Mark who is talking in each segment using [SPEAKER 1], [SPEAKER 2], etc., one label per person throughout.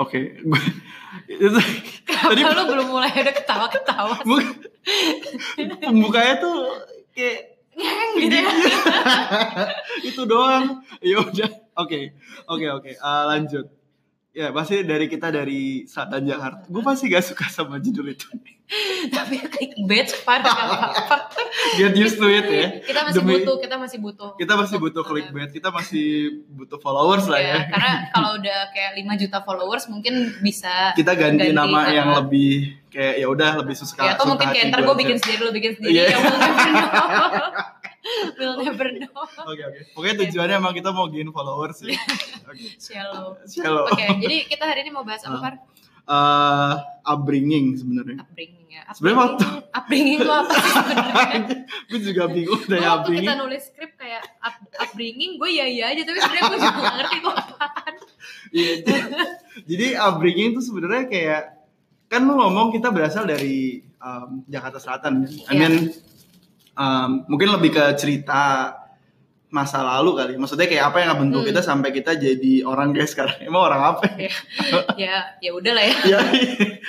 [SPEAKER 1] Oke. Itu
[SPEAKER 2] Kenapa
[SPEAKER 1] Tadi-
[SPEAKER 2] lu belum mulai udah ketawa-ketawa?
[SPEAKER 1] bu- pembukanya tuh kayak
[SPEAKER 2] Ngeng gitu ya.
[SPEAKER 1] itu doang. Ya udah. Oke. Oke, oke. Eh, lanjut. Ya, pasti dari kita dari Selatan Jakarta. Gue pasti gak suka sama judul itu.
[SPEAKER 2] Tapi clickbait parah gak apa-apa.
[SPEAKER 1] Get used to it ya.
[SPEAKER 2] Kita masih
[SPEAKER 1] Demi-
[SPEAKER 2] butuh, kita masih butuh.
[SPEAKER 1] Kita masih butuh clickbait, kita masih butuh followers lah ya.
[SPEAKER 2] Iya, karena kalau udah kayak 5 juta followers mungkin bisa
[SPEAKER 1] Kita ganti,
[SPEAKER 2] Ganti
[SPEAKER 1] nama
[SPEAKER 2] nama.
[SPEAKER 1] yang lebih kayak ya udah lebih suka.
[SPEAKER 2] Ya, atau mungkin
[SPEAKER 1] suka
[SPEAKER 2] kayak
[SPEAKER 1] hati
[SPEAKER 2] ntar
[SPEAKER 1] gua
[SPEAKER 2] gue
[SPEAKER 1] aja.
[SPEAKER 2] bikin sendiri, lu bikin sendiri,
[SPEAKER 1] Iya.
[SPEAKER 2] ya we'll never know. we'll never know.
[SPEAKER 1] Oke oke. Pokoknya
[SPEAKER 2] Iya.
[SPEAKER 1] tujuannya emang kita mau gain followers sih. Oke.
[SPEAKER 2] Shallow.
[SPEAKER 1] Shallow.
[SPEAKER 2] Oke, jadi kita hari ini mau bahas apa,
[SPEAKER 1] Ah.
[SPEAKER 2] Far?
[SPEAKER 1] Eh, upbringing sebenarnya.
[SPEAKER 2] Upbringing ya.
[SPEAKER 1] Sebenarnya waktu-
[SPEAKER 2] Upbringing- Upbringing lo apa sih sebenarnya?
[SPEAKER 1] gue juga bingung dari
[SPEAKER 2] Waktu kan? Oh, kita
[SPEAKER 1] upbringing.
[SPEAKER 2] nulis skrip kayak up- upbringing, gue ya iya aja, tapi sebenarnya gue juga gak ngerti gue apaan.
[SPEAKER 1] Iya. j- Jadi upbringing itu sebenarnya kayak kan lu ngomong kita berasal dari um, Jakarta Selatan. I
[SPEAKER 2] Iya.
[SPEAKER 1] mean um, mungkin lebih ke cerita masa lalu kali. Maksudnya kayak apa yang ngebentuk
[SPEAKER 2] Hmm.
[SPEAKER 1] kita sampai kita jadi orang guys sekarang. Emang orang apa? ya?
[SPEAKER 2] Ya, ya, ya udah lah ya.
[SPEAKER 1] ya,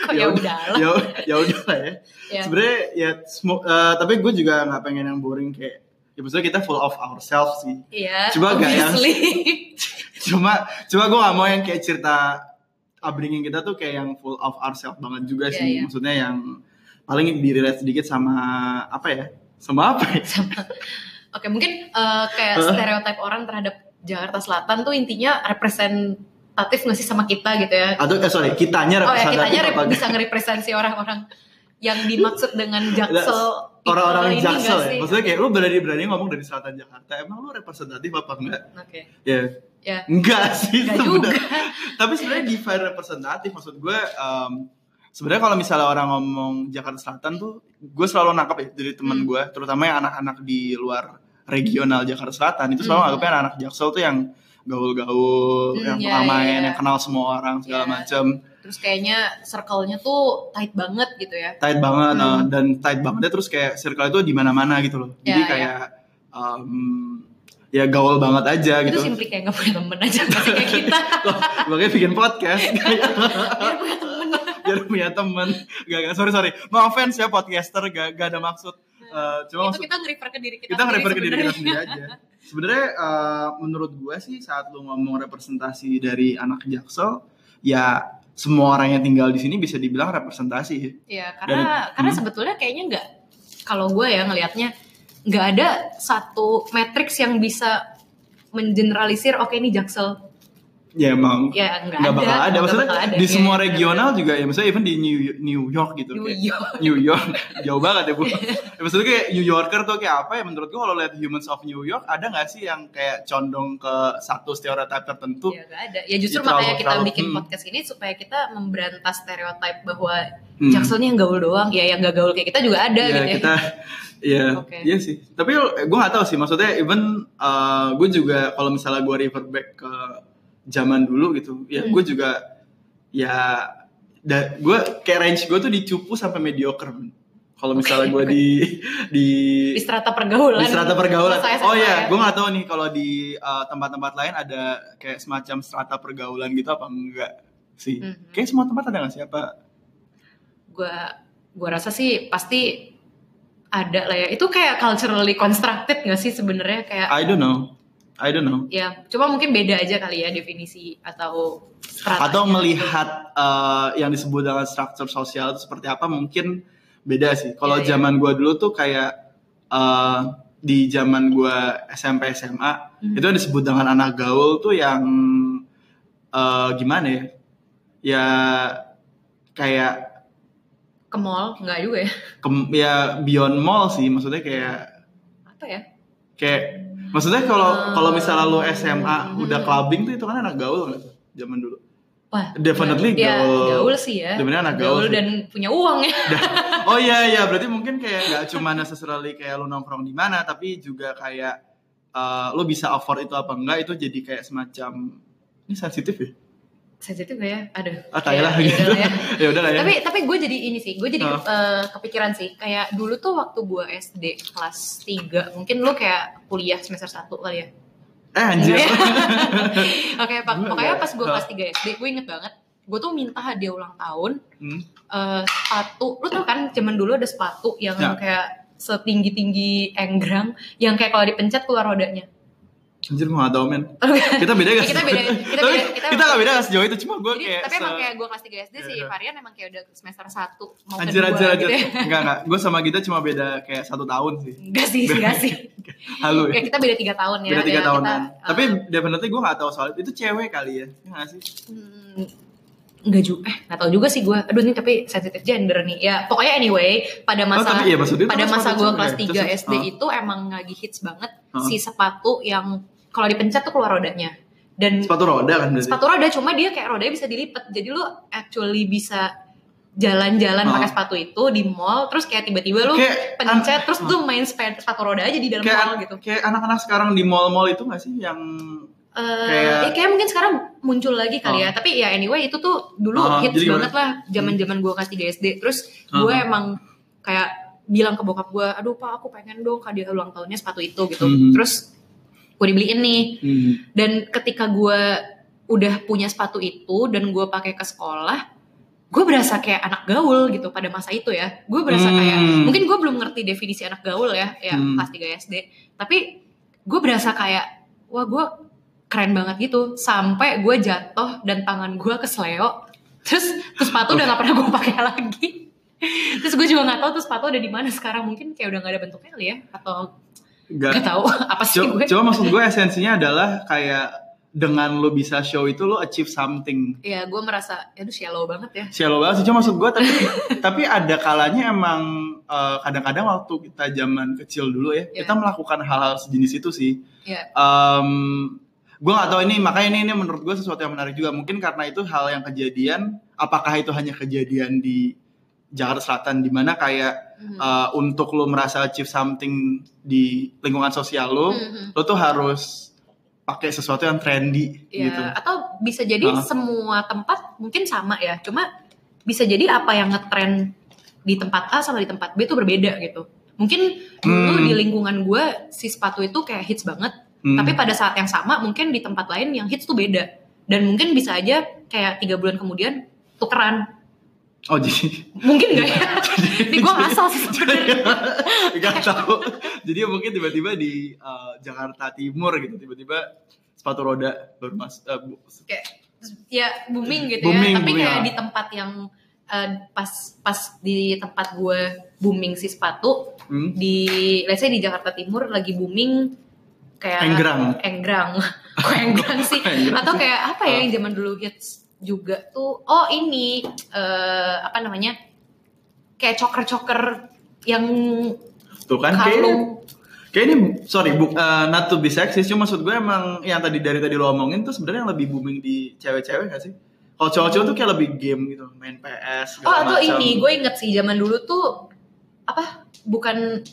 [SPEAKER 2] Kok ya udahlah.
[SPEAKER 1] Ya, ya udah lah ya.
[SPEAKER 2] Ya.
[SPEAKER 1] Sebenarnya ya semu- eh, tapi gue juga nggak pengen yang boring kayak ya maksudnya kita full of ourselves sih.
[SPEAKER 2] Iya,
[SPEAKER 1] Coba ya? gak yang-
[SPEAKER 2] obviously.
[SPEAKER 1] Cuma cuma gue nggak mau yang kayak cerita upbringing kita tuh kayak yang full of ourselves banget juga
[SPEAKER 2] Iya,
[SPEAKER 1] sih.
[SPEAKER 2] iya.
[SPEAKER 1] Maksudnya yang paling dirilis sedikit sama apa ya? Sama apa ya?
[SPEAKER 2] Oke, mungkin eh, kayak
[SPEAKER 1] Hah?
[SPEAKER 2] stereotip orang terhadap Jakarta Selatan tuh intinya representatif nggak sih sama kita gitu ya?
[SPEAKER 1] Atau eh, sorry, kitanya
[SPEAKER 2] Oh ya,
[SPEAKER 1] representatif
[SPEAKER 2] kitanya rep-
[SPEAKER 1] apa enggak?
[SPEAKER 2] bisa ngerepresentasi orang-orang yang dimaksud dengan jaksel. people
[SPEAKER 1] Orang-orang
[SPEAKER 2] ini
[SPEAKER 1] jaksel
[SPEAKER 2] nggak
[SPEAKER 1] ya.
[SPEAKER 2] sih?
[SPEAKER 1] Maksudnya kayak lu berani-berani ngomong dari selatan Jakarta, emang lu representatif apa enggak?
[SPEAKER 2] Oke,
[SPEAKER 1] Ya,
[SPEAKER 2] ya.
[SPEAKER 1] enggak sih sebenarnya.
[SPEAKER 2] Enggak juga.
[SPEAKER 1] tapi sebenarnya define representatif maksud gue em, sebenarnya kalau misalnya orang ngomong Jakarta Selatan tuh gue selalu nangkep ya dari teman
[SPEAKER 2] Hmm.
[SPEAKER 1] gue terutama yang anak-anak di luar regional Jakarta Selatan itu selalu
[SPEAKER 2] Hmm.
[SPEAKER 1] nganggapnya anak-anak Jaksel tuh yang gaul-gaul,
[SPEAKER 2] Hmm,
[SPEAKER 1] yang
[SPEAKER 2] iya,
[SPEAKER 1] suka main,
[SPEAKER 2] iya.
[SPEAKER 1] yang kenal semua orang segala
[SPEAKER 2] Iya.
[SPEAKER 1] macem
[SPEAKER 2] Terus kayaknya circle-nya tuh tight banget gitu ya.
[SPEAKER 1] tight banget
[SPEAKER 2] Hmm.
[SPEAKER 1] eh, dan tight bangetnya terus kayak circle itu di mana-mana gitu loh. Jadi
[SPEAKER 2] Iya, iya.
[SPEAKER 1] kayak em, ya gaul banget aja
[SPEAKER 2] Itu
[SPEAKER 1] gitu.
[SPEAKER 2] simply kayak nggak punya temen aja, pasti kayak kita.
[SPEAKER 1] Loh, makanya bikin podcast.
[SPEAKER 2] Nggak punya temen.
[SPEAKER 1] biar punya temen gak, gak sorry sorry no offense ya podcaster gak, gak ada maksud Eh, cuma
[SPEAKER 2] Nah, Itu
[SPEAKER 1] maksud,
[SPEAKER 2] kita nge-refer ke diri kita,
[SPEAKER 1] kita nge-refer ke diri kita
[SPEAKER 2] sebenarnya.
[SPEAKER 1] sendiri aja sebenarnya eh, menurut gue sih saat lu ngomong representasi dari anak jaksel ya semua orang yang tinggal di sini bisa dibilang representasi ya.
[SPEAKER 2] Iya, karena
[SPEAKER 1] Dari-
[SPEAKER 2] karena
[SPEAKER 1] Hmm.
[SPEAKER 2] sebetulnya kayaknya nggak kalau gue ya ngelihatnya nggak ada satu matriks yang bisa mengeneralisir oke ini jaksel
[SPEAKER 1] ya emang
[SPEAKER 2] ya nggak ada
[SPEAKER 1] nggak bakal ada
[SPEAKER 2] nggak
[SPEAKER 1] maksudnya
[SPEAKER 2] bakal ada.
[SPEAKER 1] di
[SPEAKER 2] Iya,
[SPEAKER 1] semua
[SPEAKER 2] iya,
[SPEAKER 1] regional juga ya maksudnya even di New New York gitu
[SPEAKER 2] bener-bener. New
[SPEAKER 1] kayak-
[SPEAKER 2] York.
[SPEAKER 1] New York jauh banget ya bu. Ya, maksudnya kayak New Yorker tuh kayak apa ya? Menurut gua kalau lihat Humans of New York ada nggak sih yang kayak condong ke satu stereotip tertentu?
[SPEAKER 2] Ya, nggak ada. Ya justru
[SPEAKER 1] Terlalu-
[SPEAKER 2] makanya kita
[SPEAKER 1] terlalu,
[SPEAKER 2] bikin
[SPEAKER 1] hmm.
[SPEAKER 2] podcast ini supaya kita memberantas stereotip bahwa
[SPEAKER 1] Hmm.
[SPEAKER 2] jakselnya yang gaul doang, ya yang nggak gaul kayak kita juga ada
[SPEAKER 1] ya,
[SPEAKER 2] gitu ya.
[SPEAKER 1] kita ya
[SPEAKER 2] Oke.
[SPEAKER 1] iya sih tapi eh, gua nggak tahu sih maksudnya even gue juga kalau misalnya gua refer back ke zaman dulu gitu ya
[SPEAKER 2] Hmm.
[SPEAKER 1] gue juga ya da, gue kayak range gue tuh dicupu sampai mediocre men. kalau misalnya
[SPEAKER 2] Oke.
[SPEAKER 1] gua di di
[SPEAKER 2] Di strata pergaulan.
[SPEAKER 1] di strata pergaulan.
[SPEAKER 2] Masa SMA
[SPEAKER 1] Oh iya,
[SPEAKER 2] ya.
[SPEAKER 1] gue nggak tahu nih kalau di uh, tempat-tempat lain ada kayak semacam strata pergaulan gitu apa enggak sih?
[SPEAKER 2] Mhm.
[SPEAKER 1] Kayak semua tempat ada nggak sih apa?
[SPEAKER 2] gue gue rasa sih pasti ada lah ya itu kayak culturally constructed gak sih sebenarnya kayak
[SPEAKER 1] I don't know, I don't know.
[SPEAKER 2] ya cuma mungkin beda aja kali ya definisi atau gitu. strata
[SPEAKER 1] Atau melihat uh, yang disebut dengan struktur sosial itu seperti apa mungkin beda sih. Kalau
[SPEAKER 2] Iya, iya.
[SPEAKER 1] zaman gua dulu tuh kayak uh, di zaman gua SMP SMA
[SPEAKER 2] Mhm.
[SPEAKER 1] itu yang disebut dengan anak gaul tuh yang uh, gimana ya? Ya kayak
[SPEAKER 2] ke mall nggak juga ya
[SPEAKER 1] Kem- ya beyond mall sih maksudnya kayak
[SPEAKER 2] apa ya
[SPEAKER 1] kayak maksudnya kalau
[SPEAKER 2] Hmm.
[SPEAKER 1] kalau misalnya lu SMA
[SPEAKER 2] Hmm.
[SPEAKER 1] udah clubbing tuh itu kan anak gaul nggak tuh zaman dulu
[SPEAKER 2] wah
[SPEAKER 1] Definitely
[SPEAKER 2] ya,
[SPEAKER 1] gaul.
[SPEAKER 2] gaul sih ya
[SPEAKER 1] Definitely anak gaul sih.
[SPEAKER 2] dan punya uang ya
[SPEAKER 1] oh iya iya berarti mungkin kayak nggak cuma necessarily kayak lu nongkrong di mana tapi juga kayak eh, lu bisa afford itu apa enggak itu jadi kayak semacam ini sensitif ya
[SPEAKER 2] sensitif gak ya aduh
[SPEAKER 1] ah tai lah
[SPEAKER 2] Ya,
[SPEAKER 1] gitu
[SPEAKER 2] udah lah ya.
[SPEAKER 1] ya udah lah Ah. ya
[SPEAKER 2] tapi tapi gue jadi ini sih gue jadi
[SPEAKER 1] Huh?
[SPEAKER 2] eh, kepikiran sih kayak dulu tuh waktu gue SD kelas 3 mungkin lu kayak kuliah semester 1 kali ya
[SPEAKER 1] eh anjir
[SPEAKER 2] Oke, Pak.
[SPEAKER 1] Gua
[SPEAKER 2] Pokoknya
[SPEAKER 1] enggak.
[SPEAKER 2] pas gue
[SPEAKER 1] Hah?
[SPEAKER 2] kelas 3 SD, gue inget banget. gue tuh minta hadiah ulang tahun
[SPEAKER 1] Hmm.
[SPEAKER 2] eh, sepatu lu tau kan zaman dulu ada sepatu yang
[SPEAKER 1] Ya.
[SPEAKER 2] kayak setinggi tinggi enggrang yang kayak kalau dipencet keluar rodanya
[SPEAKER 1] Anjir gue gak tau men Kita beda gak?
[SPEAKER 2] Kita beda, kita
[SPEAKER 1] Tapi
[SPEAKER 2] beda, kita-
[SPEAKER 1] kita gak beda gak sejauh itu Cuma gue
[SPEAKER 2] Jadi,
[SPEAKER 1] kayak
[SPEAKER 2] tapi emang
[SPEAKER 1] se-
[SPEAKER 2] kayak gue kelas 3 SD sih,
[SPEAKER 1] Iya.
[SPEAKER 2] varian emang kayak udah semester 1 mau
[SPEAKER 1] Anjir
[SPEAKER 2] kedua
[SPEAKER 1] anjir anjir
[SPEAKER 2] gitu ya.
[SPEAKER 1] Enggak enggak Gue sama kita cuma beda kayak satu tahun sih
[SPEAKER 2] Enggak sih, enggak sih.
[SPEAKER 1] Halu
[SPEAKER 2] Ya
[SPEAKER 1] ya
[SPEAKER 2] kita beda 3 tahun ya.
[SPEAKER 1] Beda tiga
[SPEAKER 2] ya,
[SPEAKER 1] tahunan
[SPEAKER 2] kita,
[SPEAKER 1] Tapi
[SPEAKER 2] eh,
[SPEAKER 1] definitely gue gak tau soal itu Itu cewek kali ya Iya nggak sih?
[SPEAKER 2] Hmm, Enggak juga, eh gak tau juga sih gue Aduh ini tapi sensitif gender nih Ya pokoknya anyway Pada masa
[SPEAKER 1] tapi iya, maksudnya itu
[SPEAKER 2] pada
[SPEAKER 1] kan
[SPEAKER 2] masa
[SPEAKER 1] sepatu
[SPEAKER 2] gue
[SPEAKER 1] juga
[SPEAKER 2] kelas
[SPEAKER 1] ya.
[SPEAKER 2] 3
[SPEAKER 1] Terus-
[SPEAKER 2] SD
[SPEAKER 1] ah.
[SPEAKER 2] itu Emang lagi hits banget
[SPEAKER 1] Ah.
[SPEAKER 2] Si sepatu yang Kalau dipencet tuh keluar rodanya Dan
[SPEAKER 1] Sepatu roda kan berarti
[SPEAKER 2] sepatu roda cuma dia kayak rodanya bisa dilipat jadi lu actually bisa jalan-jalan
[SPEAKER 1] Ah.
[SPEAKER 2] pakai sepatu itu di mall terus kayak tiba-tiba lu
[SPEAKER 1] Kayak-
[SPEAKER 2] pencet terus
[SPEAKER 1] ah.
[SPEAKER 2] lu main sepe- sepatu roda aja di dalam
[SPEAKER 1] Kayak
[SPEAKER 2] mall gitu
[SPEAKER 1] kayak anak-anak sekarang di mall-mall itu gak sih yang
[SPEAKER 2] Eh,
[SPEAKER 1] kayak-
[SPEAKER 2] ya kayak mungkin sekarang muncul lagi kali
[SPEAKER 1] Ah.
[SPEAKER 2] ya tapi ya anyway itu tuh dulu
[SPEAKER 1] Ah,
[SPEAKER 2] hits
[SPEAKER 1] jadi gimana?
[SPEAKER 2] banget lah zaman-zaman gue kelas 3 SD terus gue
[SPEAKER 1] Ah.
[SPEAKER 2] emang kayak bilang ke bokap gue aduh pak aku pengen dong hadiah ulang tahunnya sepatu itu gitu
[SPEAKER 1] Mhm.
[SPEAKER 2] terus gue dibeliin nih
[SPEAKER 1] hmm.
[SPEAKER 2] dan ketika gue udah punya sepatu itu dan gue pakai ke sekolah gue berasa kayak anak gaul gitu pada masa itu ya gue berasa
[SPEAKER 1] Hmm.
[SPEAKER 2] kayak mungkin gue belum ngerti definisi anak gaul ya ya
[SPEAKER 1] Hmm.
[SPEAKER 2] kelas 3 SD tapi gue berasa kayak wah gue keren banget gitu sampai gue jatuh dan tangan gue kesleo terus terus sepatu udah gak pernah gue pakai lagi terus gue juga nggak tahu terus sepatu ada di mana sekarang mungkin kayak udah gak ada bentuknya kali ya atau
[SPEAKER 1] Gak
[SPEAKER 2] nggak tahu apa sih
[SPEAKER 1] Cuma,
[SPEAKER 2] gue
[SPEAKER 1] cuma maksud gue esensinya adalah kayak dengan lo bisa show itu lo achieve something.
[SPEAKER 2] ya gue merasa aduh shallow banget ya
[SPEAKER 1] Sialo banget sih, cuma maksud gue tapi tapi ada kalanya emang eh, kadang-kadang waktu kita zaman kecil dulu ya
[SPEAKER 2] Iya.
[SPEAKER 1] kita melakukan hal-hal sejenis itu sih.
[SPEAKER 2] ya
[SPEAKER 1] gue gak tahu ini makanya ini ini menurut gue sesuatu yang menarik juga mungkin karena itu hal yang kejadian. Apakah itu hanya kejadian di Jakarta Selatan di mana kayak
[SPEAKER 2] Mhm.
[SPEAKER 1] eh, untuk lo merasa achieve something di lingkungan sosial lo,
[SPEAKER 2] Mhm.
[SPEAKER 1] lo tuh harus pakai sesuatu yang trendy
[SPEAKER 2] Ya,
[SPEAKER 1] gitu.
[SPEAKER 2] atau bisa jadi
[SPEAKER 1] Ah.
[SPEAKER 2] semua tempat mungkin sama ya, cuma bisa jadi apa yang ngetren di tempat A sama di tempat B itu berbeda gitu. Mungkin dulu
[SPEAKER 1] Hmm.
[SPEAKER 2] di lingkungan gue si sepatu itu kayak hits banget,
[SPEAKER 1] Hmm.
[SPEAKER 2] tapi pada saat yang sama mungkin di tempat lain yang hits tuh beda. Dan mungkin bisa aja kayak tiga bulan kemudian tukeran.
[SPEAKER 1] oh jadi
[SPEAKER 2] Mungkin gak ya? Ini gue ngasal sih sebenernya.
[SPEAKER 1] nggak tahu. Jadi mungkin tiba-tiba di eh, Jakarta Timur gitu tiba-tiba sepatu roda baru mas eh, bu-
[SPEAKER 2] ya booming gitu
[SPEAKER 1] Booming,
[SPEAKER 2] ya tapi
[SPEAKER 1] booming,
[SPEAKER 2] kayak
[SPEAKER 1] ya.
[SPEAKER 2] di tempat yang eh, pas pas di tempat gue booming si sepatu
[SPEAKER 1] hmm,
[SPEAKER 2] di let's say di Jakarta Timur lagi booming kayak
[SPEAKER 1] Enggrang.
[SPEAKER 2] enggrang kok enggrang sih
[SPEAKER 1] Enggrang sih.
[SPEAKER 2] atau
[SPEAKER 1] Ah.
[SPEAKER 2] kayak apa ya yang zaman dulu hits juga tuh oh ini eh, apa namanya kayak choker-choker yang
[SPEAKER 1] tuh kan kayak
[SPEAKER 2] kalung
[SPEAKER 1] kayak ini sorry bu, eh, not to be sexist cuma maksud gue emang yang tadi dari tadi lo omongin tuh sebenarnya yang lebih booming di cewek-cewek gak sih? Kalau cowok-cowok tuh kayak lebih game gitu main PS.
[SPEAKER 2] Oh
[SPEAKER 1] segala
[SPEAKER 2] atau
[SPEAKER 1] macam.
[SPEAKER 2] ini gue inget sih zaman dulu tuh apa bukan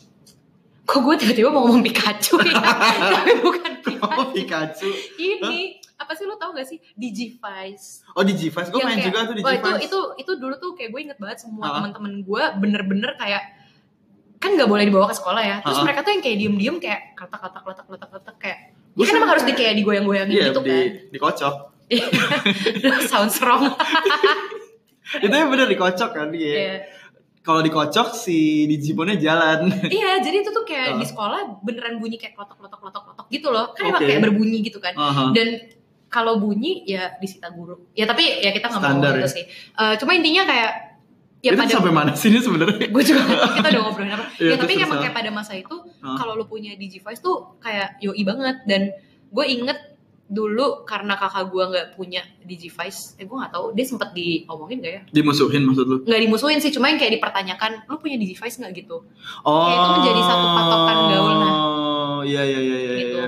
[SPEAKER 2] kok gue tiba-tiba mau ngomong Pikachu ya tapi bukan
[SPEAKER 1] Oh
[SPEAKER 2] Pikachu
[SPEAKER 1] Pikachu.
[SPEAKER 2] ini apa sih lo tau gak sih Digivice
[SPEAKER 1] Oh di G-Fest gue
[SPEAKER 2] Yang
[SPEAKER 1] main
[SPEAKER 2] kayak-
[SPEAKER 1] juga tuh di
[SPEAKER 2] wah,
[SPEAKER 1] G-Fest.
[SPEAKER 2] itu itu itu dulu tuh kayak gue inget banget semua
[SPEAKER 1] Ah.
[SPEAKER 2] teman-teman gue bener-bener kayak kan nggak boleh dibawa ke sekolah ya terus
[SPEAKER 1] Ah.
[SPEAKER 2] mereka tuh yang kayak diem-diem kayak katak-katak letak-letak-letak kayak
[SPEAKER 1] Gue
[SPEAKER 2] Ya kan emang
[SPEAKER 1] sama.
[SPEAKER 2] harus di kayak digoyang-goyangin
[SPEAKER 1] Iya,
[SPEAKER 2] gitu
[SPEAKER 1] di,
[SPEAKER 2] kan
[SPEAKER 1] dikocok.
[SPEAKER 2] sounds wrong
[SPEAKER 1] Itu yang bener dikocok kan dia.
[SPEAKER 2] Iya.
[SPEAKER 1] Kalau dikocok si Digimonnya jalan.
[SPEAKER 2] Iya, jadi itu tuh kayak
[SPEAKER 1] Ah.
[SPEAKER 2] di sekolah beneran bunyi kayak klotok klotok klotok klotok gitu loh. Kan emang
[SPEAKER 1] Oke.
[SPEAKER 2] kayak berbunyi gitu kan.
[SPEAKER 1] Aha.
[SPEAKER 2] Dan kalau bunyi ya disita guru. Ya tapi ya kita nggak mau
[SPEAKER 1] Standar
[SPEAKER 2] gitu
[SPEAKER 1] ya.
[SPEAKER 2] sih. Eh, cuma intinya kayak ya
[SPEAKER 1] itu
[SPEAKER 2] pada
[SPEAKER 1] sampai mana sih ini sebenarnya?
[SPEAKER 2] gue juga nggak tahu, kita udah ngobrolin apa.
[SPEAKER 1] Iya,
[SPEAKER 2] ya tapi
[SPEAKER 1] terus
[SPEAKER 2] emang
[SPEAKER 1] terus,
[SPEAKER 2] kayak pada masa itu
[SPEAKER 1] Ah.
[SPEAKER 2] kalau lu punya Digivice tuh kayak yoi banget dan gue inget dulu karena kakak gue nggak punya Digivice, eh gue nggak tahu dia sempet diomongin gak ya?
[SPEAKER 1] Dimusuhin Ah, maksud lu?
[SPEAKER 2] Nggak dimusuhin sih, cuma yang kayak dipertanyakan, lu punya Digivice nggak gitu?
[SPEAKER 1] Oh.
[SPEAKER 2] itu menjadi satu patokan gaul, nah.
[SPEAKER 1] Oh, iya iya iya iya.
[SPEAKER 2] Gitu.
[SPEAKER 1] iya.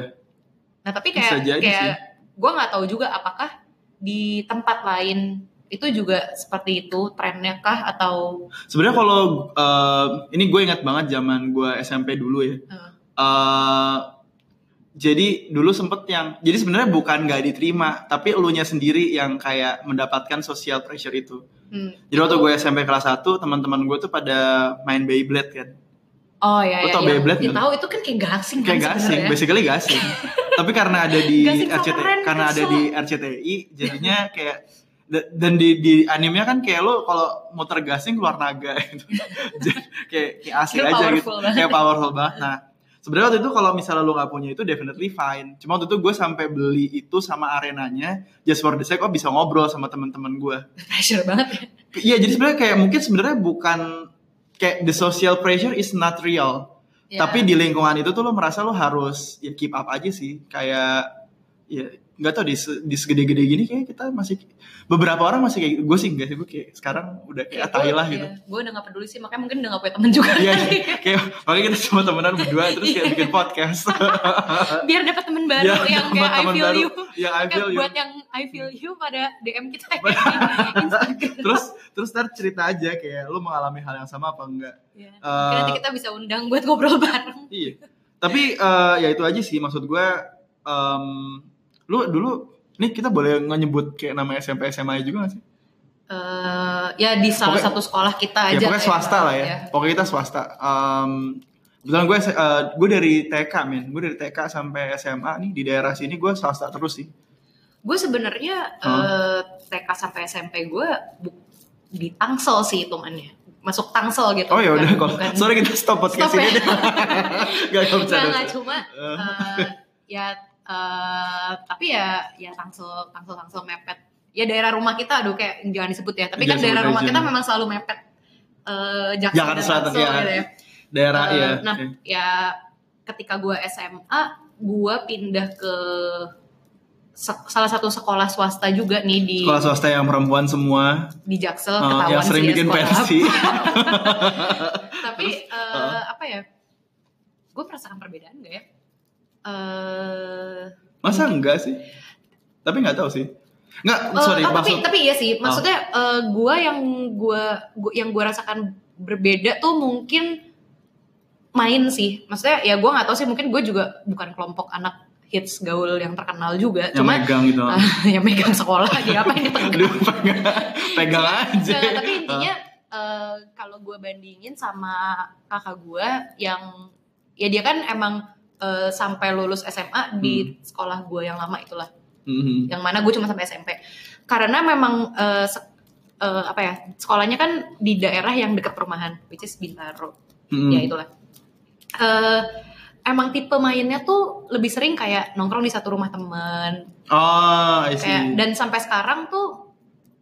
[SPEAKER 2] Nah tapi
[SPEAKER 1] Bisa
[SPEAKER 2] kayak
[SPEAKER 1] jadi sih.
[SPEAKER 2] kayak gue nggak tahu juga apakah di tempat lain itu juga seperti itu trennya kah atau
[SPEAKER 1] Sebenarnya kalau eh, ini gue ingat banget zaman gue SMP dulu ya.
[SPEAKER 2] Hmm.
[SPEAKER 1] Eh, jadi dulu sempet yang jadi sebenarnya bukan gak diterima, tapi elunya sendiri yang kayak mendapatkan social pressure itu.
[SPEAKER 2] hmm.
[SPEAKER 1] Jadi waktu gue SMP kelas 1, teman-teman gue tuh pada main Beyblade kan.
[SPEAKER 2] oh ya
[SPEAKER 1] Lu
[SPEAKER 2] ya,
[SPEAKER 1] tau
[SPEAKER 2] yang
[SPEAKER 1] Beyblade
[SPEAKER 2] yang
[SPEAKER 1] nggak?
[SPEAKER 2] tahu itu kan kayak gasing kan
[SPEAKER 1] Kayak gasing,
[SPEAKER 2] sebenarnya.
[SPEAKER 1] basically gasing. Tapi karena ada di
[SPEAKER 2] Gasing so
[SPEAKER 1] RCTI,
[SPEAKER 2] keren,
[SPEAKER 1] karena ada
[SPEAKER 2] kesel.
[SPEAKER 1] di RCTI, jadinya kayak da- dan di di animenya kan kayak lo kalau muter gasing keluar naga gitu. Jadi, kayak kayak asik
[SPEAKER 2] Kayak
[SPEAKER 1] aja gitu.
[SPEAKER 2] powerful banget.
[SPEAKER 1] Kayak powerful banget. Nah, sebenarnya waktu itu kalau misalnya lo nggak punya itu definitely fine. Cuma waktu itu gue sampai beli itu sama arenanya just for the sake oh bisa ngobrol sama teman-teman gue.
[SPEAKER 2] pressure banget ya.
[SPEAKER 1] Iya, jadi sebenarnya kayak mungkin sebenarnya bukan kayak the social pressure is not real.
[SPEAKER 2] Ya.
[SPEAKER 1] Tapi di lingkungan itu tuh lo merasa lo harus ya keep up aja sih. Kayak ya nggak tau di, se- di segede-gede gini kayak kita masih beberapa orang masih kayak gue sih enggak sih gue kayak sekarang udah
[SPEAKER 2] Ya,
[SPEAKER 1] kayak atai lah gitu.
[SPEAKER 2] Gue udah gak peduli sih, makanya mungkin udah gak punya temen juga.
[SPEAKER 1] Iya, iya. kayak makanya kita cuma temenan berdua terus kayak bikin podcast.
[SPEAKER 2] Biar dapat temen baru
[SPEAKER 1] Iya,
[SPEAKER 2] Iya. yang kayak I
[SPEAKER 1] teman-teman
[SPEAKER 2] feel
[SPEAKER 1] baru.
[SPEAKER 2] you.
[SPEAKER 1] Iya, I
[SPEAKER 2] Kan
[SPEAKER 1] feel you.
[SPEAKER 2] buat yang I feel you pada DM kita ya, di Instagram.
[SPEAKER 1] terus terus ntar cerita aja kayak lo mengalami hal yang sama apa enggak?
[SPEAKER 2] Ya.
[SPEAKER 1] Eh,
[SPEAKER 2] Mungkin nanti kita bisa undang buat ngobrol bareng.
[SPEAKER 1] Iya. Tapi eh, ya itu aja sih maksud gue. em, lu dulu nih kita boleh nyebut kayak nama SMP SMA juga gak sih?
[SPEAKER 2] eh ya di salah
[SPEAKER 1] Pokoknya-
[SPEAKER 2] satu sekolah kita
[SPEAKER 1] Ya
[SPEAKER 2] aja.
[SPEAKER 1] pokoknya
[SPEAKER 2] kayak
[SPEAKER 1] swasta
[SPEAKER 2] gitu
[SPEAKER 1] lah ya. Pokoknya kita swasta. Em kebetulan gue eh, gue dari TK men. Gue dari TK sampai SMA nih di daerah sini gue swasta terus sih.
[SPEAKER 2] Gue sebenarnya
[SPEAKER 1] Hah?
[SPEAKER 2] eh, TK sampai SMP gue bu- di Tangsel sih hitungannya. Masuk Tangsel gitu.
[SPEAKER 1] Oh ya udah kalau
[SPEAKER 2] bukan- bukan-
[SPEAKER 1] sorry kita stop podcast
[SPEAKER 2] Stop
[SPEAKER 1] ini
[SPEAKER 2] ya.
[SPEAKER 1] deh. gak gak
[SPEAKER 2] Enggak,
[SPEAKER 1] bercanda.
[SPEAKER 2] enggak, cuma
[SPEAKER 1] Eh.
[SPEAKER 2] eh, ya eh, tapi ya ya Tangsel Tangsel Tangsel mepet. Ya daerah rumah kita aduh kayak jangan disebut ya. Tapi
[SPEAKER 1] Jangan
[SPEAKER 2] kan
[SPEAKER 1] Iya,
[SPEAKER 2] daerah
[SPEAKER 1] sebut
[SPEAKER 2] rumah
[SPEAKER 1] aja.
[SPEAKER 2] kita memang selalu mepet. Eh Jakarta,
[SPEAKER 1] Jakarta Selatan,
[SPEAKER 2] Tangsel
[SPEAKER 1] ya.
[SPEAKER 2] gitu ya.
[SPEAKER 1] Daerah
[SPEAKER 2] Eh,
[SPEAKER 1] ya.
[SPEAKER 2] Nah,
[SPEAKER 1] Oke.
[SPEAKER 2] ya ketika gue SMA, gue pindah ke se- salah satu sekolah swasta juga nih di
[SPEAKER 1] Sekolah swasta yang perempuan semua
[SPEAKER 2] di Jaksel
[SPEAKER 1] eh,
[SPEAKER 2] ketahuan
[SPEAKER 1] yang sering
[SPEAKER 2] sih ya
[SPEAKER 1] bikin
[SPEAKER 2] sekolah.
[SPEAKER 1] pensi.
[SPEAKER 2] Tapi eh,
[SPEAKER 1] eh.
[SPEAKER 2] apa ya? Gue merasakan perbedaan gak ya? Eh
[SPEAKER 1] Masa enggak sih? Tapi nggak tahu sih. Nggak,
[SPEAKER 2] Eh,
[SPEAKER 1] sorry,
[SPEAKER 2] oh, tapi
[SPEAKER 1] maksud Ah.
[SPEAKER 2] tapi iya sih maksudnya eh, gua yang gua, gua- yang gua rasakan berbeda tuh mungkin main sih maksudnya ya gua nggak tahu sih mungkin gue juga bukan kelompok anak hits gaul yang terkenal juga
[SPEAKER 1] yang
[SPEAKER 2] cuma
[SPEAKER 1] megang gitu.
[SPEAKER 2] eh, yang megang sekolah dia apa yang
[SPEAKER 1] Aduh, pegang, pegang aja.
[SPEAKER 2] Nggak, tapi intinya eh, kalau gue bandingin sama kakak gue yang ya dia kan emang eh, sampai lulus SMA di sekolah gue yang lama itulah
[SPEAKER 1] Mhm.
[SPEAKER 2] yang mana gue cuma sampai SMP karena memang eh, se- eh, apa ya sekolahnya kan di daerah yang dekat perumahan which is Bintaro
[SPEAKER 1] Mhm.
[SPEAKER 2] ya itulah Eh, emang tipe mainnya tuh lebih sering kayak nongkrong di satu rumah temen
[SPEAKER 1] Oh, I see.
[SPEAKER 2] kayak dan sampai sekarang tuh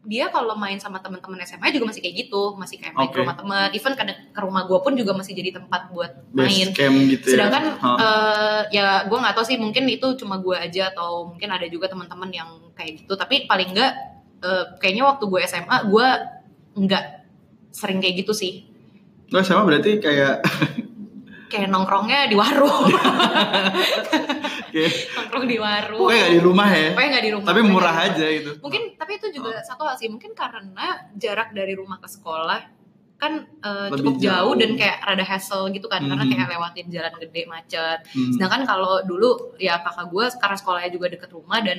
[SPEAKER 2] dia kalau main sama teman-teman SMA juga masih kayak gitu masih kayak main
[SPEAKER 1] Oke.
[SPEAKER 2] ke rumah teman even kadang ke rumah gue pun juga masih jadi tempat buat
[SPEAKER 1] Base
[SPEAKER 2] main
[SPEAKER 1] camp gitu ya.
[SPEAKER 2] sedangkan
[SPEAKER 1] Hah.
[SPEAKER 2] eh, ya gue nggak tahu sih mungkin itu cuma gue aja atau mungkin ada juga teman-teman yang kayak gitu tapi paling nggak eh, kayaknya waktu gue SMA gue nggak sering kayak gitu sih
[SPEAKER 1] Lo SMA berarti kayak
[SPEAKER 2] kayak nongkrongnya di warung Iya,
[SPEAKER 1] kayak
[SPEAKER 2] nongkrong di warung
[SPEAKER 1] pokoknya nggak di rumah ya.
[SPEAKER 2] Pokoknya nggak di rumah
[SPEAKER 1] Tapi
[SPEAKER 2] pokoknya
[SPEAKER 1] murah
[SPEAKER 2] nggak di
[SPEAKER 1] aja gitu.
[SPEAKER 2] rumah. mungkin tapi itu juga
[SPEAKER 1] Ah.
[SPEAKER 2] satu hal sih mungkin karena jarak dari rumah ke sekolah kan eh,
[SPEAKER 1] Lebih
[SPEAKER 2] cukup jauh.
[SPEAKER 1] jauh.
[SPEAKER 2] dan kayak rada hassle gitu kan karena
[SPEAKER 1] Mhm.
[SPEAKER 2] kayak lewatin jalan gede macet
[SPEAKER 1] Hmm.
[SPEAKER 2] Sedangkan kalau dulu ya kakak gue karena sekolahnya juga deket rumah dan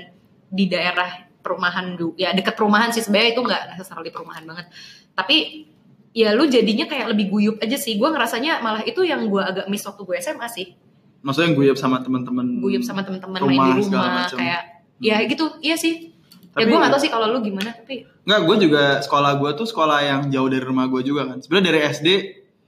[SPEAKER 2] di daerah perumahan du- ya deket perumahan sih sebenarnya itu nggak necessarily perumahan banget. Tapi ya lu jadinya kayak lebih guyup aja sih. Gue ngerasanya malah itu yang gue agak miss waktu gue SMA sih.
[SPEAKER 1] Maksudnya guyup sama teman-teman.
[SPEAKER 2] Guyup sama ya, teman-teman
[SPEAKER 1] Hmm.
[SPEAKER 2] main
[SPEAKER 1] Rumah,
[SPEAKER 2] di
[SPEAKER 1] segala
[SPEAKER 2] rumah
[SPEAKER 1] macam.
[SPEAKER 2] kayak ya gitu. Iya sih. ya
[SPEAKER 1] Tapi-
[SPEAKER 2] gue gak tau sih kalau lu gimana tapi
[SPEAKER 1] Enggak, gue juga sekolah gue tuh sekolah yang jauh dari rumah gue juga kan. Sebenarnya dari SD,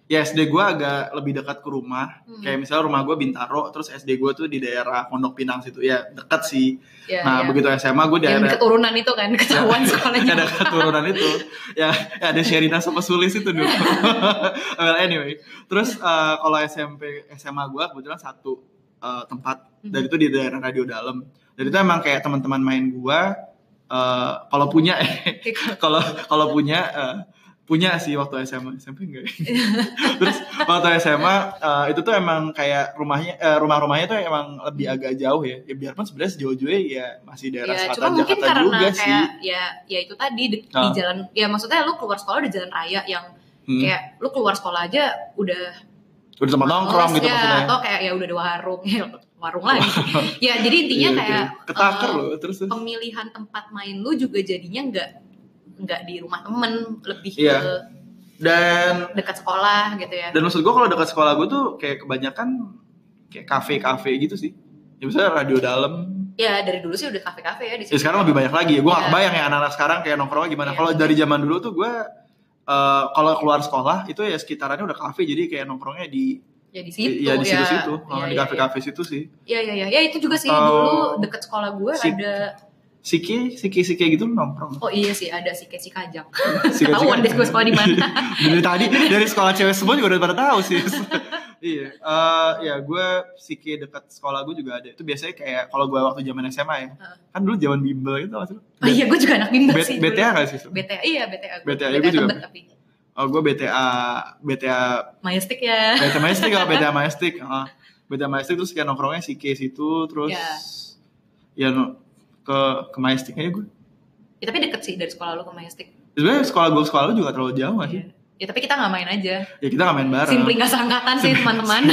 [SPEAKER 1] ya SD gue agak lebih dekat ke rumah.
[SPEAKER 2] Hmm.
[SPEAKER 1] Kayak misalnya rumah gue Bintaro, terus SD gue tuh di daerah Pondok Pinang situ. Ya dekat sih.
[SPEAKER 2] ya,
[SPEAKER 1] nah
[SPEAKER 2] ya.
[SPEAKER 1] begitu SMA gue
[SPEAKER 2] yang
[SPEAKER 1] daerah
[SPEAKER 2] keturunan itu kan ketahuan sekolahnya.
[SPEAKER 1] ada keturunan itu ya ya ada Sherina sama Sulis itu dulu well anyway terus eh, kalau SMP SMA gue kebetulan satu eh, tempat
[SPEAKER 2] Hmm.
[SPEAKER 1] dan itu di daerah radio dalam dan itu emang kayak teman-teman main gue eh, kalau punya
[SPEAKER 2] Gitu.
[SPEAKER 1] kalau kalau punya eh, punya sih waktu SMA SMP enggak ya? terus waktu SMA eh, itu tuh emang kayak rumahnya eh, rumah-rumahnya tuh emang lebih agak jauh ya, ya biarpun sebenarnya sejauh-jauhnya ya masih daerah
[SPEAKER 2] ya, Hmm. cuma
[SPEAKER 1] selatan
[SPEAKER 2] mungkin
[SPEAKER 1] Jakarta
[SPEAKER 2] karena
[SPEAKER 1] juga
[SPEAKER 2] kayak
[SPEAKER 1] sih
[SPEAKER 2] ya ya itu tadi di, di
[SPEAKER 1] Ah.
[SPEAKER 2] jalan ya maksudnya lu keluar sekolah di jalan raya yang
[SPEAKER 1] Hmm.
[SPEAKER 2] kayak lu keluar sekolah aja udah
[SPEAKER 1] udah tempat nongkrong
[SPEAKER 2] males
[SPEAKER 1] gitu
[SPEAKER 2] ya,
[SPEAKER 1] maksudnya
[SPEAKER 2] atau kayak ya udah ada warung ya, warung lagi ya jadi intinya
[SPEAKER 1] Iya,
[SPEAKER 2] kayak
[SPEAKER 1] oke. ketaker
[SPEAKER 2] eh,
[SPEAKER 1] loh terus terus.
[SPEAKER 2] pemilihan tempat main lu juga jadinya nggak nggak di rumah temen lebih
[SPEAKER 1] Iya.
[SPEAKER 2] ke
[SPEAKER 1] dan
[SPEAKER 2] dekat sekolah gitu ya
[SPEAKER 1] dan maksud gue kalau dekat sekolah gue tuh kayak kebanyakan kayak kafe kafe gitu sih ya misalnya radio dalam
[SPEAKER 2] ya dari dulu sih udah kafe-kafe ya di
[SPEAKER 1] Ya,
[SPEAKER 2] sini.
[SPEAKER 1] sekarang lebih banyak lagi. Gue gak
[SPEAKER 2] Iya.
[SPEAKER 1] kebayang ya anak-anak sekarang kayak nongkrongnya gimana.
[SPEAKER 2] Iya.
[SPEAKER 1] Kalau dari zaman dulu tuh gue eh, kalau keluar sekolah itu ya sekitarannya udah kafe jadi kayak nongkrongnya di
[SPEAKER 2] Ya di situ.
[SPEAKER 1] ya iya. di situ-situ,
[SPEAKER 2] Ya,
[SPEAKER 1] di
[SPEAKER 2] ya,
[SPEAKER 1] kafe-kafe situ sih.
[SPEAKER 2] Ya ya ya. Ya itu juga sih
[SPEAKER 1] Atau-
[SPEAKER 2] dulu deket sekolah gue
[SPEAKER 1] Si-
[SPEAKER 2] ada
[SPEAKER 1] Siki, siki, siki gitu nongkrong.
[SPEAKER 2] oh iya sih ada si Kesi Kajang.
[SPEAKER 1] Siki,
[SPEAKER 2] Ketahuan deh gue sekolah di mana.
[SPEAKER 1] dari tadi dari sekolah cewek semua juga udah pada tahu sih. iya, Eh, ya gue siki dekat sekolah gue juga ada. Itu biasanya kayak kalau gue waktu zaman SMA ya,
[SPEAKER 2] Heeh.
[SPEAKER 1] kan dulu zaman bimbel gitu maksud lu?
[SPEAKER 2] Oh iya gue juga anak bimbel
[SPEAKER 1] B-
[SPEAKER 2] sih. dulu.
[SPEAKER 1] BTA gak sih? Sul?
[SPEAKER 2] BTA iya BTA gue.
[SPEAKER 1] BTA, gue juga.
[SPEAKER 2] Tebet tapi
[SPEAKER 1] Oh gue BTA, BTA
[SPEAKER 2] majestic ya.
[SPEAKER 1] beda majestic kalau beda majestic heeh. beda majestic terus kayak nongkrongnya si K situ terus
[SPEAKER 2] Iya.
[SPEAKER 1] ya no- ke ke majestic aja gue
[SPEAKER 2] Ya, tapi deket sih dari sekolah lu ke majestic.
[SPEAKER 1] sebenarnya sekolah gue sekolah lu juga terlalu jauh gak sih
[SPEAKER 2] Iya. Ya tapi kita nggak main aja.
[SPEAKER 1] ya kita nggak main bareng
[SPEAKER 2] Simply nggak seangkatan sih teman-teman.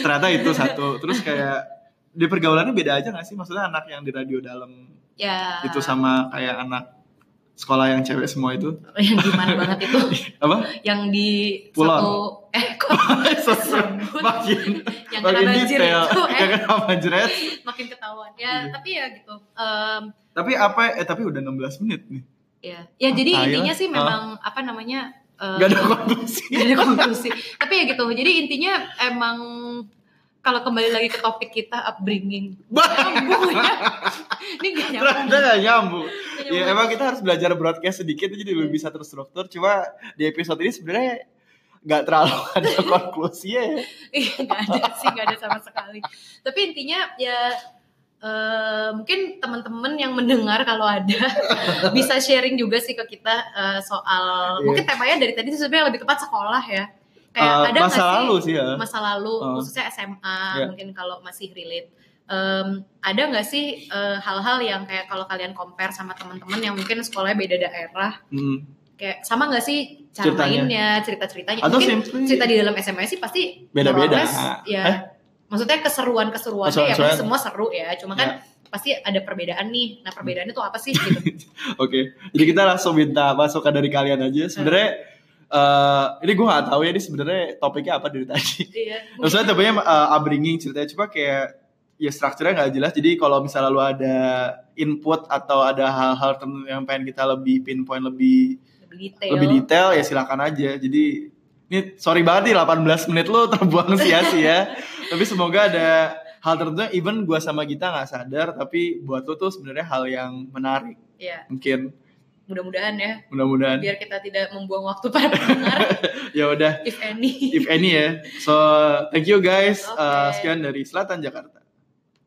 [SPEAKER 1] ternyata itu satu terus kayak di pergaulannya beda aja gak sih maksudnya anak yang di radio dalam
[SPEAKER 2] ya.
[SPEAKER 1] itu sama kayak anak sekolah yang cewek semua itu
[SPEAKER 2] Yang Ya, gimana banget itu?
[SPEAKER 1] apa
[SPEAKER 2] Yang di
[SPEAKER 1] Pulang.
[SPEAKER 2] satu eh kok sebut?
[SPEAKER 1] makin
[SPEAKER 2] yang
[SPEAKER 1] makin
[SPEAKER 2] kena banjir
[SPEAKER 1] detail
[SPEAKER 2] itu eh
[SPEAKER 1] Yang kena banjir
[SPEAKER 2] makin ketahuan ya
[SPEAKER 1] Iya.
[SPEAKER 2] tapi ya gitu Em,
[SPEAKER 1] tapi apa eh tapi udah 16 menit nih
[SPEAKER 2] ya ya jadi
[SPEAKER 1] Ah,
[SPEAKER 2] intinya
[SPEAKER 1] iya.
[SPEAKER 2] sih memang apa namanya em,
[SPEAKER 1] gak ada konklusi
[SPEAKER 2] gak ada konklusi tapi ya gitu jadi intinya emang kalau kembali lagi ke topik kita upbringing nyambung ya ini gak nyambung
[SPEAKER 1] Ternyata gak nyambung.
[SPEAKER 2] gak
[SPEAKER 1] Nah, Ya
[SPEAKER 2] nyambung.
[SPEAKER 1] emang kita harus belajar broadcast sedikit jadi lebih bisa terstruktur. Cuma di episode ini sebenarnya nggak terlalu ada konklusinya ya.
[SPEAKER 2] Iya, nggak ada sih nggak ada sama sekali tapi intinya ya eh, mungkin teman-teman yang mendengar kalau ada bisa sharing juga sih ke kita eh, soal
[SPEAKER 1] Iya.
[SPEAKER 2] mungkin temanya dari tadi sih sebenarnya lebih tepat sekolah ya kayak
[SPEAKER 1] Eh,
[SPEAKER 2] ada nggak
[SPEAKER 1] masa
[SPEAKER 2] sih
[SPEAKER 1] lalu sih ya.
[SPEAKER 2] masa lalu
[SPEAKER 1] Eh.
[SPEAKER 2] khususnya SMA
[SPEAKER 1] Iya.
[SPEAKER 2] mungkin kalau masih relate Em, ada nggak sih eh, hal-hal yang kayak kalau kalian compare sama teman-teman yang mungkin sekolahnya beda daerah
[SPEAKER 1] Hmm.
[SPEAKER 2] kayak sama nggak sih cara
[SPEAKER 1] Ceritanya.
[SPEAKER 2] mainnya cerita-ceritanya
[SPEAKER 1] Atau
[SPEAKER 2] mungkin
[SPEAKER 1] simply
[SPEAKER 2] cerita di dalam SMA sih pasti
[SPEAKER 1] Beda-beda.
[SPEAKER 2] more or less, ya
[SPEAKER 1] Eh?
[SPEAKER 2] maksudnya keseruan keseruannya ya
[SPEAKER 1] Keseruan-keseruan.
[SPEAKER 2] pasti semua seru ya cuma kan pasti ada perbedaan nih nah perbedaannya tuh apa sih gitu
[SPEAKER 1] Oke. Jadi kita langsung minta masukan dari kalian aja. Sebenarnya eh, ini gue nggak tahu ya ini sebenarnya topiknya apa dari tadi.
[SPEAKER 2] iya
[SPEAKER 1] Maksudnya topiknya eh, upbringing ceritanya cuma kayak ya strukturnya nggak jelas. Jadi kalau misalnya lu ada input atau ada hal-hal tertentu yang pengen kita lebih pinpoint lebih
[SPEAKER 2] lebih detail
[SPEAKER 1] lebih detail ya silakan aja. Jadi ini sorry banget nih 18 menit lo terbuang sia-sia. tapi semoga ada hal tertentu yang even gua sama kita nggak sadar tapi buat lo tuh sebenarnya hal yang menarik
[SPEAKER 2] ya
[SPEAKER 1] mungkin
[SPEAKER 2] mudah-mudahan ya
[SPEAKER 1] mudah-mudahan
[SPEAKER 2] biar kita tidak membuang waktu para pendengar
[SPEAKER 1] ya udah
[SPEAKER 2] if any
[SPEAKER 1] if any ya. So thank you guys. Eh,
[SPEAKER 2] Oke.
[SPEAKER 1] sekian dari Selatan Jakarta.